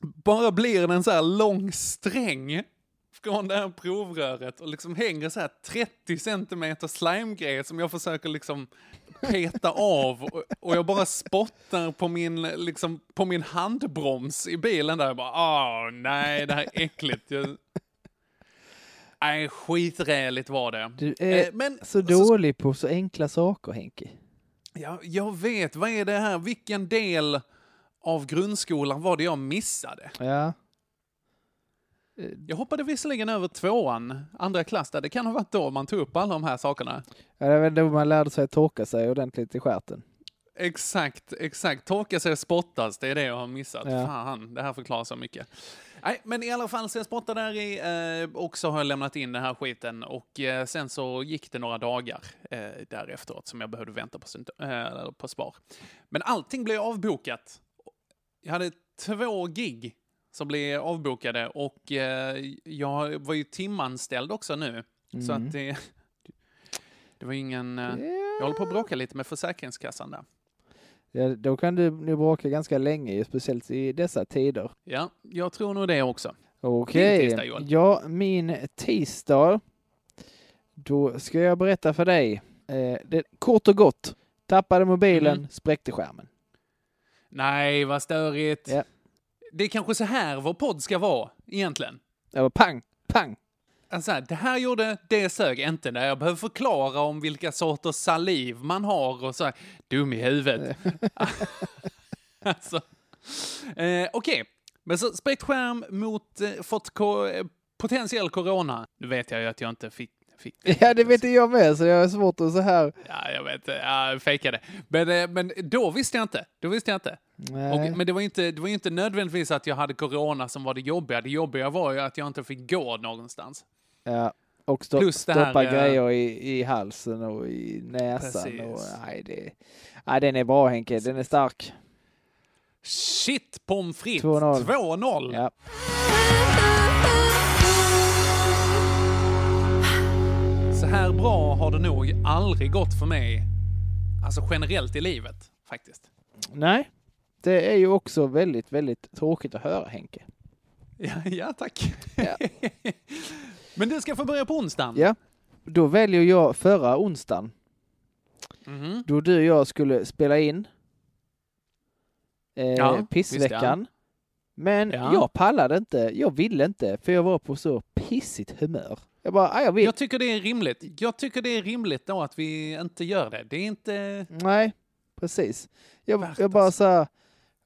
Speaker 3: bara blir den så här lång sträng från det här provröret och liksom hänger så här 30 centimeter slimegrejer som jag försöker liksom peta av och, och jag bara spottar på min, liksom, på min handbroms i bilen där. Jag bara, åh nej, det här är äckligt. Jag... Nej, skiträligt var det.
Speaker 4: Du är
Speaker 3: Eh, men
Speaker 4: så dålig på så enkla saker, Henke.
Speaker 3: jag, jag vet, vad är det här? Vilken del av grundskolan var det jag missade?
Speaker 4: Ja.
Speaker 3: Jag hoppade visserligen över tvåan, andra klass där. Det kan ha varit då man tog upp alla de här sakerna.
Speaker 4: ja, det är väl då man lärde sig att torka sig ordentligt i stjärten.
Speaker 3: Exakt, exakt. Torka sig och spottas, det är det jag har missat.
Speaker 4: Ja.
Speaker 3: Fan, det här förklarar så mycket. Nej, men i alla fall så jag spottade där i eh, och så har jag lämnat in den här skiten och eh, sen så gick det några dagar eh, därefteråt som jag behövde vänta på, symptom- eh, på svar. Men allting blev avbokat. Jag hade två gig som blev avbokade och eh, jag var ju timanställd också nu. Så
Speaker 4: Mm.
Speaker 3: att det, det var ingen... Eh, Jag håller på att bråka lite med Försäkringskassan där.
Speaker 4: Ja, då kan du nu bråka ganska länge, speciellt i dessa tider.
Speaker 3: Ja, jag tror nog det också.
Speaker 4: Okej.
Speaker 3: tisdag, Johan.
Speaker 4: Ja, min tisdag. Då ska jag berätta för dig. Eh, det, kort och gott. Tappade mobilen,
Speaker 3: Mm.
Speaker 4: spräckte skärmen.
Speaker 3: Nej, vad störigt. Det är kanske så här vår podd ska vara egentligen.
Speaker 4: Det var pang, pang.
Speaker 3: Alltså, det här gjorde det sög inte när jag behöver förklara om vilka sorters saliv man har och så här. Dum i huvudet. alltså. Eh, Okej, men så spräckt skärm mot eh, fått ko- eh, potentiell corona. Nu vet jag ju att jag inte fick, fick
Speaker 4: Ja, det vet jag med, så jag har svårt att så här.
Speaker 3: Ja, jag vet. Ja, jag fejkade. Men, eh, men då visste jag inte. Då visste jag inte.
Speaker 4: Nej.
Speaker 3: Och, men det var, ju inte, det var ju inte nödvändigtvis att jag hade corona som var det jobbiga. Det jobbiga var ju att jag inte fick gå någonstans.
Speaker 4: Ja, och stopp,
Speaker 3: Plus det här,
Speaker 4: stoppa
Speaker 3: eh,
Speaker 4: grejer i, i halsen och i näsan.
Speaker 3: Precis.
Speaker 4: Och, nej, det, nej, den är bra Henke, den är stark.
Speaker 3: Shit pommes frites!
Speaker 4: 2-0.
Speaker 3: 2-0!
Speaker 4: Ja.
Speaker 3: Så här bra har det nog aldrig gått för mig. Alltså generellt i livet, faktiskt.
Speaker 4: Nej, det är ju också väldigt, väldigt tråkigt att höra Henke.
Speaker 3: Ja, ja tack. men du ska få börja på onsdagen.
Speaker 4: Ja, då väljer jag förra onsdagen
Speaker 3: Mhm.
Speaker 4: då du och jag skulle spela in eh,
Speaker 3: Ja, visst,
Speaker 4: pissveckan.
Speaker 3: ja.
Speaker 4: Men
Speaker 3: Ja.
Speaker 4: jag pallade inte, jag ville inte, för jag var på så pissigt humör. Jag bara, "Ah, jag vill.
Speaker 3: Jag tycker det är rimligt. Jag tycker det är rimligt då att vi inte gör det. Det är inte...
Speaker 4: Nej, precis. Jag, jag bara så här,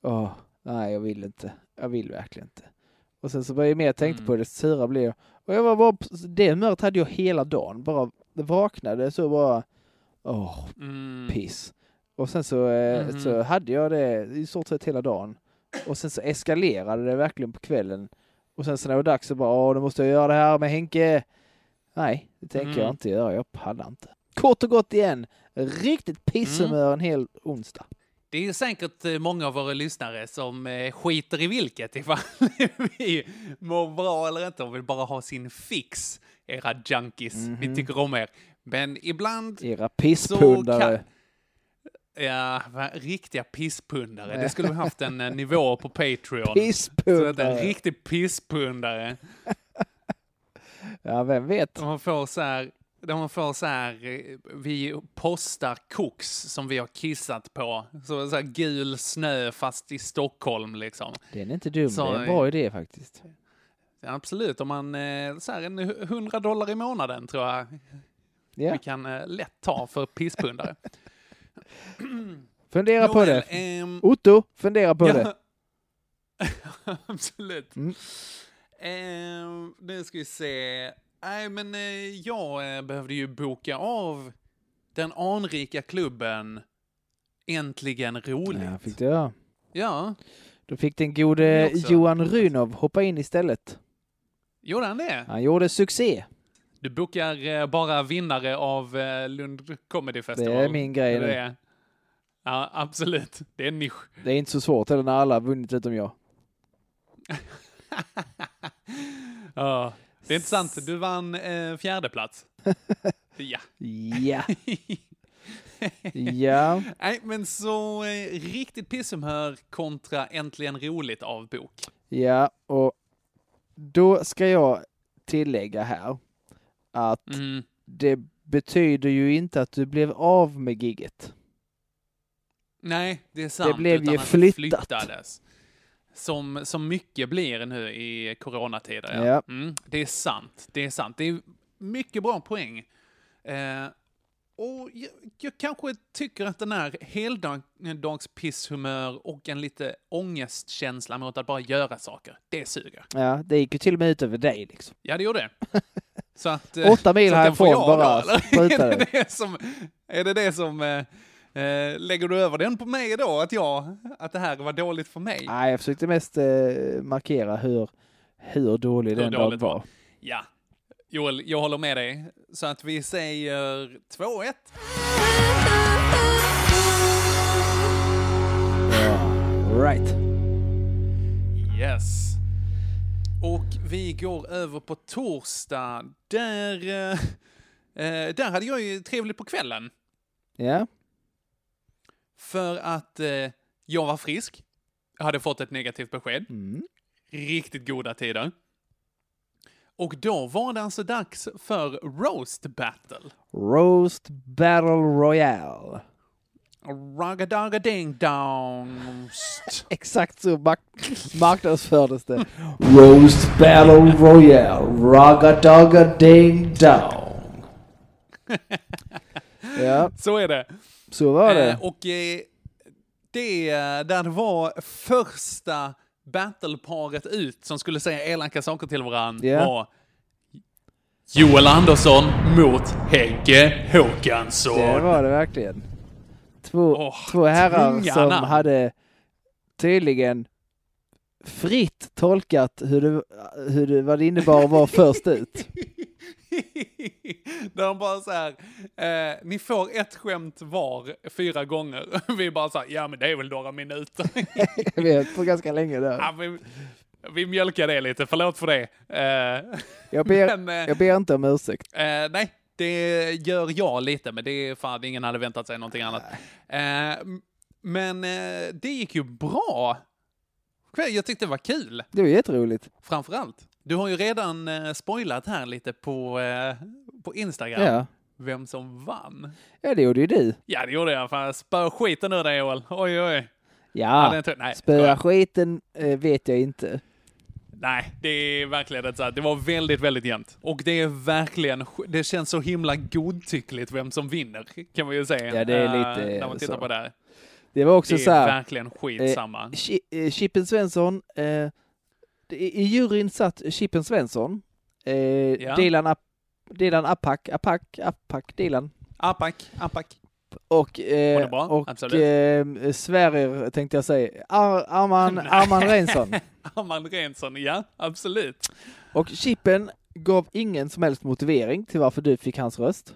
Speaker 4: åh, nej jag vill inte. Jag vill verkligen inte. Och sen så började jag mer tänka på det, desto surare blev jag. Och jag var bara, på- det humöret hade jag hela dagen. Bara vaknade så bara, åh,
Speaker 3: mm.
Speaker 4: piss. Och sen så, eh,
Speaker 9: Mhm.
Speaker 4: så hade jag det i stort sett hela dagen. Och sen så eskalerade det verkligen på kvällen. Och sen så när det var dags så bara, åh, nu måste jag göra det här med Henke. Nej, det tänker
Speaker 9: Mm.
Speaker 3: Mhm.
Speaker 4: jag inte göra. Jag pallar inte. Kort och gott igen. Riktigt pisshumör
Speaker 3: Mm.
Speaker 4: en hel onsdag.
Speaker 3: Det är säkert eh, många av våra lyssnare som eh, skiter i vilket ifall vi mår bra eller inte. De vill bara ha sin fix, era junkies. Vi tycker om er. Men ibland...
Speaker 4: Era
Speaker 3: Så
Speaker 4: pisspundare.
Speaker 3: kan- Ja, va, riktiga pisspundare.
Speaker 4: Nej.
Speaker 3: Det skulle vi haft en eh, nivå på Patreon.
Speaker 4: Pisspundare.
Speaker 3: Så att En riktig pisspundare.
Speaker 4: Ja, vem vet?
Speaker 3: Där man får så här, där man får så här eh, vi postar koks som vi har kissat på. Så, så här gul snö fast i Stockholm liksom.
Speaker 4: Den är inte dum.
Speaker 3: Så-
Speaker 4: det är en bra idé faktiskt.
Speaker 3: Absolut, om man eh, så här en hu- 100 dollar i månaden tror jag
Speaker 4: Ja.
Speaker 3: vi kan eh, lätt ta för pisspundare.
Speaker 4: Fundera på
Speaker 3: Nåväl,
Speaker 4: det.
Speaker 3: ehm,
Speaker 4: Otto, fundera på det. Mm.
Speaker 3: Absolut. Eh, nu ska vi se. Nej, men eh, jag eh, behövde ju boka av den anrika klubben Äntligen roligt.
Speaker 4: Ja, fick du göra.
Speaker 3: Ja,
Speaker 4: Då fick den gode
Speaker 3: Det också.
Speaker 4: Johan Rynov hoppa in istället.
Speaker 3: gjorde han det?
Speaker 4: Han gjorde succé.
Speaker 3: Du bokar eh, bara vinnare av eh, Lund Comedy Festival.
Speaker 4: Det är min grej
Speaker 3: Det
Speaker 4: nu.
Speaker 3: är- Ja, absolut. Det är en nisch.
Speaker 4: Det är inte så svårt eller när alla har vunnit utom jag.
Speaker 3: Ja, det är inte sant. Du vann eh, fjärde plats. Ja.
Speaker 4: Ja. ja.
Speaker 3: Nej, men så eh, riktigt pisshumör kontra äntligen roligt av bok.
Speaker 4: Ja, och då ska jag tillägga här att
Speaker 3: Mm.
Speaker 4: det betyder ju inte att du blev av med gigget.
Speaker 3: Nej, det är sant.
Speaker 4: blev
Speaker 3: utan
Speaker 4: ju
Speaker 3: att det
Speaker 4: flyttat.
Speaker 3: Flyttades. Som, som mycket blir nu i coronatider.
Speaker 4: Ja.
Speaker 3: Mm, det är sant. Det är sant. Det är mycket bra poäng. Eh, och jag, jag kanske tycker att den här heldagspishumör och en lite ångestkänsla mot att bara göra saker, det suger.
Speaker 4: Ja, det gick ju till och med ut över dig liksom.
Speaker 3: Ja, det gjorde det. Så att, eh,
Speaker 4: Åtta mil
Speaker 3: så att den får
Speaker 4: härifrån
Speaker 3: jag
Speaker 4: bara
Speaker 3: då, eller?
Speaker 4: sprutade.
Speaker 3: Är det det som... Är det det som eh, eh, lägger du över den på mig då? Att, jag, att det här var dåligt för mig?
Speaker 4: Nej, jag försökte mest eh, markera hur, hur dålig
Speaker 3: Hur
Speaker 4: den dagen
Speaker 3: dåligt
Speaker 4: var.
Speaker 3: Ja. Joel, jag håller med dig. Så att vi säger 2-1.
Speaker 4: Right.
Speaker 3: Yes. Och vi går över på torsdag. Där, eh, eh, där hade jag ju trevligt på kvällen.
Speaker 4: Ja.
Speaker 3: För att eh,
Speaker 4: Mm.
Speaker 3: jag var frisk. Jag hade fått ett negativt besked. Riktigt goda tider. Och då var det alltså dags för Roast Battle.
Speaker 4: Roast Battle Royale.
Speaker 3: Raggadaggadingdongst.
Speaker 4: Exakt så mak- marknadsfördes det.
Speaker 9: Roast Battle Royale, Ragadaga Ding Dong.
Speaker 4: Ja,
Speaker 3: Så är det.
Speaker 4: så var det.
Speaker 3: Eh, och eh, det eh, där det var första battleparet ut som skulle säga elaka saker till varandra
Speaker 4: Ja.
Speaker 3: var Joel Andersson mot Henke Håkansson.
Speaker 4: Det var det verkligen. Två, två herrar
Speaker 3: tunga
Speaker 4: som
Speaker 3: namn.
Speaker 4: hade tydligen fritt tolkat hur det, hur det, vad det innebar att vara först ut.
Speaker 3: Där de bara så här, eh, ni får ett skämt var fyra gånger. Vi bara så här, ja men det är väl några minuter.
Speaker 4: Jag vet, på ganska länge där.
Speaker 3: ja, vi, vi mjölkar det lite, förlåt för det. Eh,
Speaker 4: Jag ber,
Speaker 3: men, eh,
Speaker 4: jag ber inte om ursäkt.
Speaker 3: Eh, nej, det gör jag lite, men det är fan, ingen hade väntat sig någonting annat. Eh, m- men eh, det gick ju bra. Jag tyckte det var kul,
Speaker 4: Det var jätteroligt.
Speaker 3: framförallt. Du har ju redan eh, spoilat här lite på, eh, på Instagram
Speaker 4: Ja.
Speaker 3: vem som vann.
Speaker 4: Ja, det gjorde ju du.
Speaker 3: Ja, det gjorde jag. Fan, spö skiten ur dig, Joel. Oj, oj. Ja,
Speaker 4: Ja,
Speaker 3: den tror- nej,
Speaker 4: spöa
Speaker 3: skoja.
Speaker 4: skiten eh, vet jag inte.
Speaker 3: Nej, det är verkligen ett så här. Det var väldigt, väldigt jämnt. Och det är verkligen, det känns så himla godtyckligt vem som vinner, kan man ju säga.
Speaker 4: Ja, det är
Speaker 3: eh,
Speaker 4: lite
Speaker 3: När man tittar
Speaker 4: så.
Speaker 3: på det här.
Speaker 4: Det var också
Speaker 3: det är
Speaker 4: så här.
Speaker 3: verkligen skitsamma.
Speaker 4: Eh, Chi- eh, Chippen Svensson. Eh, det- I i juryn satt Chippen Svensson. Eh, Dilan, Ap- Dilan Apak, Apak, Apak, Dilan.
Speaker 3: Apak, Apak.
Speaker 4: Och,
Speaker 3: Var
Speaker 4: eh,
Speaker 3: det bra?
Speaker 4: och
Speaker 3: Absolut.
Speaker 4: eh, Sverrir tänkte jag säga. Ar- Arman, Arman Reinsson.
Speaker 3: Armand Rensson, ja absolut.
Speaker 4: Och Chippen gav ingen som helst motivering till varför du fick hans röst.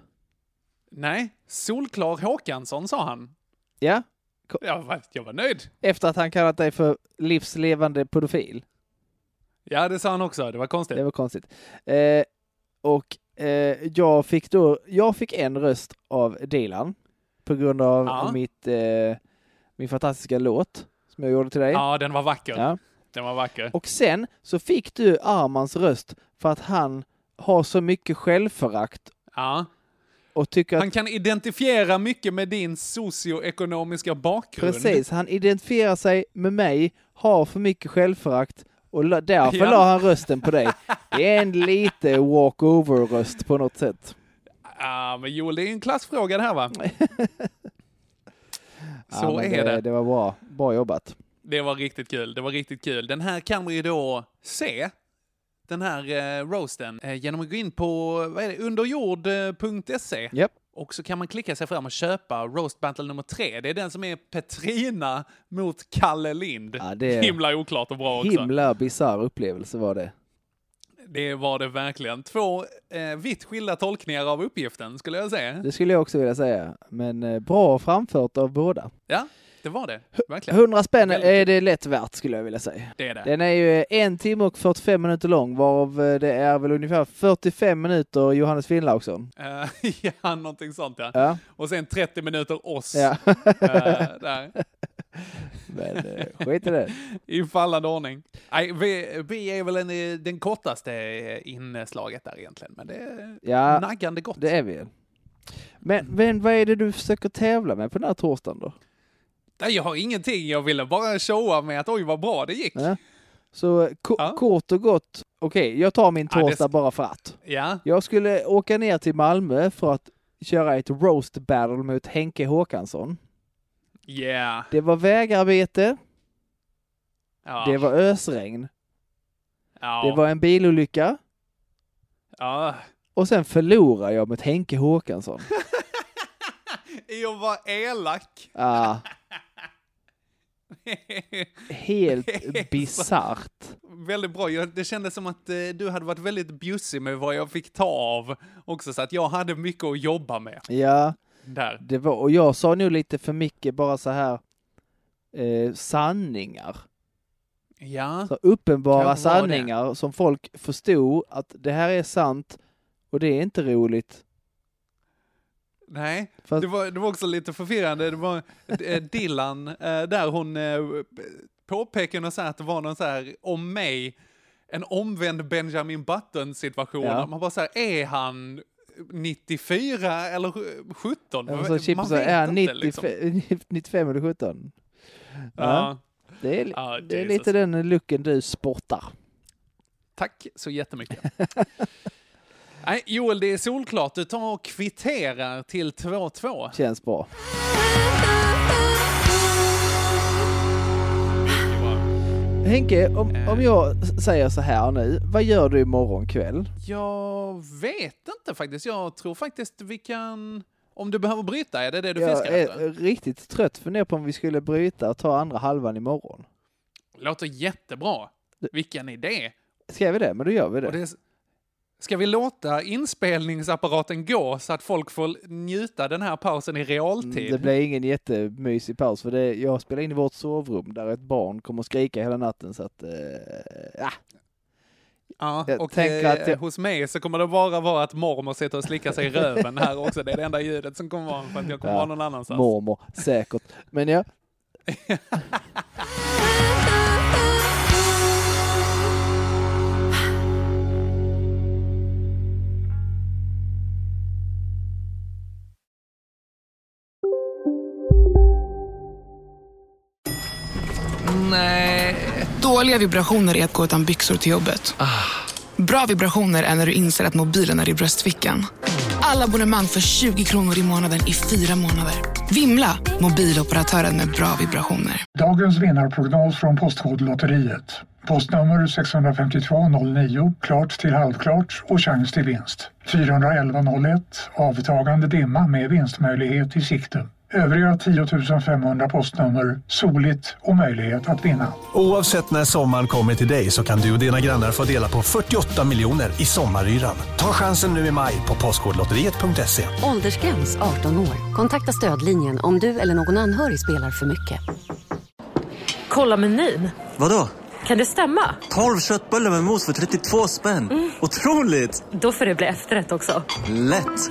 Speaker 3: Nej, Solklar Håkansson sa han.
Speaker 4: Ja,
Speaker 3: Jag var, jag var nöjd.
Speaker 4: efter att han kallat dig för livslevande pedofil.
Speaker 3: Ja, det sa han också. Det var konstigt.
Speaker 4: Det var konstigt. Eh, och eh, jag fick då, jag fick en röst av Dilan på grund av
Speaker 3: Ja.
Speaker 4: mitt, eh, min fantastiska låt som jag gjorde till dig.
Speaker 3: Ja, den var vacker.
Speaker 4: Ja.
Speaker 3: Den var vacker.
Speaker 4: Och sen så fick du Armans röst för att han har så mycket självförakt
Speaker 3: Ja.
Speaker 4: och tycker
Speaker 3: Han
Speaker 4: att
Speaker 3: kan identifiera mycket med din socioekonomiska bakgrund.
Speaker 4: precis, han identifierar sig med mig, har för mycket självförakt och la- därför
Speaker 3: Ja.
Speaker 4: la han rösten på dig. Det är en lite walkover-röst på något sätt.
Speaker 3: Ja, men Joel, det är en klassfråga det här va? Så
Speaker 4: men
Speaker 3: är det.
Speaker 4: Det var bra, bra jobbat.
Speaker 3: Det var riktigt kul. Det var riktigt kul. Den här kan man ju då se, den här eh, roasten, eh, genom att gå in på vad är det, underjord.se.
Speaker 4: Japp.
Speaker 3: Och så kan man klicka sig fram och köpa Roast Battle nummer tre. Det är den som är Petrina mot Kalle Lind.
Speaker 4: det är-
Speaker 3: Himla oklart och bra också.
Speaker 4: Himla bisarr upplevelse var det.
Speaker 3: Det var det verkligen. Två eh, vitt skilda tolkningar av uppgiften skulle jag säga.
Speaker 4: Det skulle jag också vilja säga. Men eh, bra framfört av båda.
Speaker 3: Ja, det var det. Verkligen.
Speaker 4: 100 spänn
Speaker 3: Väldigt.
Speaker 4: är det lätt värt skulle jag vilja säga.
Speaker 3: Det är det.
Speaker 4: Den är ju eh, en timme och 45 minuter lång varav eh, det är väl ungefär 45 minuter Johannes Finnlaugsson.
Speaker 3: Eh, ja, någonting sånt ja.
Speaker 4: Ja.
Speaker 3: Och sen 30 minuter oss.
Speaker 4: Ja.
Speaker 3: Eh, där.
Speaker 4: Men eh, skit i det.
Speaker 3: I fallande ordning. Nej, vi, vi är väl en, eh, den kortaste eh, inslaget där egentligen, men det är
Speaker 4: Ja.
Speaker 3: naggande gott.
Speaker 4: Det är vi. Men, men vad är det du försöker tävla med på den här torsdagen då?
Speaker 3: Nej, jag har ingenting, jag ville bara showa med att oj vad bra det gick. Ja,
Speaker 4: Ja. Så eh, ko- kort och gott, okej jag tar min
Speaker 3: Ja, det
Speaker 4: torsdag bara för att.
Speaker 3: ja.
Speaker 4: Jag skulle åka ner till Malmö för att köra ett roast battle mot Henke Håkansson.
Speaker 3: Yeah.
Speaker 4: Det var vägarbete,
Speaker 3: ja.
Speaker 4: det var ösregn,
Speaker 3: ja.
Speaker 4: det var en bilolycka
Speaker 3: ja.
Speaker 4: och sen förlorar jag mot Henke Håkansson.
Speaker 3: Jag var elak.
Speaker 4: Ah, helt bisarrt.
Speaker 3: Väldigt bra. Jag, det kändes som att eh, du hade varit väldigt bjussig med vad jag fick ta av också, så att jag hade mycket att jobba med
Speaker 4: Ja,
Speaker 3: där.
Speaker 4: det var, och jag sa nog lite för mycket bara så här eh, sanningar.
Speaker 3: Ja,
Speaker 4: Så uppenbara
Speaker 3: Kanske var det.
Speaker 4: sanningar som folk förstod att det här är sant och det är inte roligt.
Speaker 3: nej.
Speaker 4: Fast-
Speaker 3: Det, var, det var också lite förvirrande. Det var eh, Dillan eh, där hon eh, påpekade och sa att det var någon så här om mig eh, en omvänd Benjamin Button-situation.
Speaker 4: Ja.
Speaker 3: Man bara så här, är han 94 eller sj- 17?
Speaker 4: Och så Chip
Speaker 3: Man
Speaker 4: så
Speaker 3: vet
Speaker 4: är
Speaker 3: inte, liksom.
Speaker 4: 95, 95 eller 17. Ja.
Speaker 3: Ja.
Speaker 4: Det är,
Speaker 3: Ja,
Speaker 4: det är
Speaker 3: Jesus.
Speaker 4: lite den looken du sportar.
Speaker 3: Tack så jättemycket. Nej, Joel, det är solklart. Du tar och kvitterar till 2-2.
Speaker 4: Känns bra. Henke, om,
Speaker 3: Eh.
Speaker 4: om jag s- säger så här nu, vad gör du imorgon kväll?
Speaker 3: Jag vet inte faktiskt. Jag tror faktiskt vi kan... Om du behöver bryta, är det det du
Speaker 4: jag
Speaker 3: fiskar efter?
Speaker 4: är riktigt trött, funderar på om vi skulle bryta och ta andra halvan imorgon.
Speaker 3: Låter jättebra. Vilken idé!
Speaker 4: Ska vi det? Men då gör vi det.
Speaker 3: Och det är... s- Ska vi låta inspelningsapparaten gå så att folk får njuta den här pausen i realtid?
Speaker 4: Mm, Det blir ingen jättemysig paus för det, jag spelar in i vårt sovrum där ett barn kommer att skrika hela natten så att... Eh, ja.
Speaker 3: Ja,
Speaker 4: Jag
Speaker 3: och
Speaker 4: tänker
Speaker 3: eh,
Speaker 4: att jag-
Speaker 3: hos mig så kommer det bara vara att mormor sitter och slickar sig i röven här också. Det är det enda ljudet som kommer vara för att jag kommer vara någon annanstans.
Speaker 4: Mormor, säkert. Men ja,
Speaker 10: Nej. Dåliga vibrationer är att gå utan byxor till jobbet. Bra vibrationer är när du inser att mobilen är i bröstfickan. Alla abonnemang för 20 kronor i månaden i fyra månader. Vimla! Mobiloperatören med bra vibrationer.
Speaker 11: Dagens vinnarprognos från Postkodlotteriet. Postnummer 65209, klart till halvklart och chans till vinst. 41101, avtagande dimma med vinstmöjlighet i sikte. Övriga 10 500 postnummer, soligt och möjlighet att vinna.
Speaker 12: Oavsett när sommaren kommer till dig så kan du och dina grannar få dela på 48 miljoner i sommaryran. Ta chansen nu i maj på Postkodlotteriet.se.
Speaker 13: Åldersgräns 18 år. Kontakta stödlinjen om du eller någon anhörig spelar för mycket.
Speaker 14: Kolla menyn.
Speaker 15: Vadå?
Speaker 14: Kan det stämma?
Speaker 15: 12 köttbullar med mos för 32 spänn.
Speaker 10: Mm.
Speaker 15: Otroligt!
Speaker 14: Då får det bli efterrätt också.
Speaker 15: Lätt!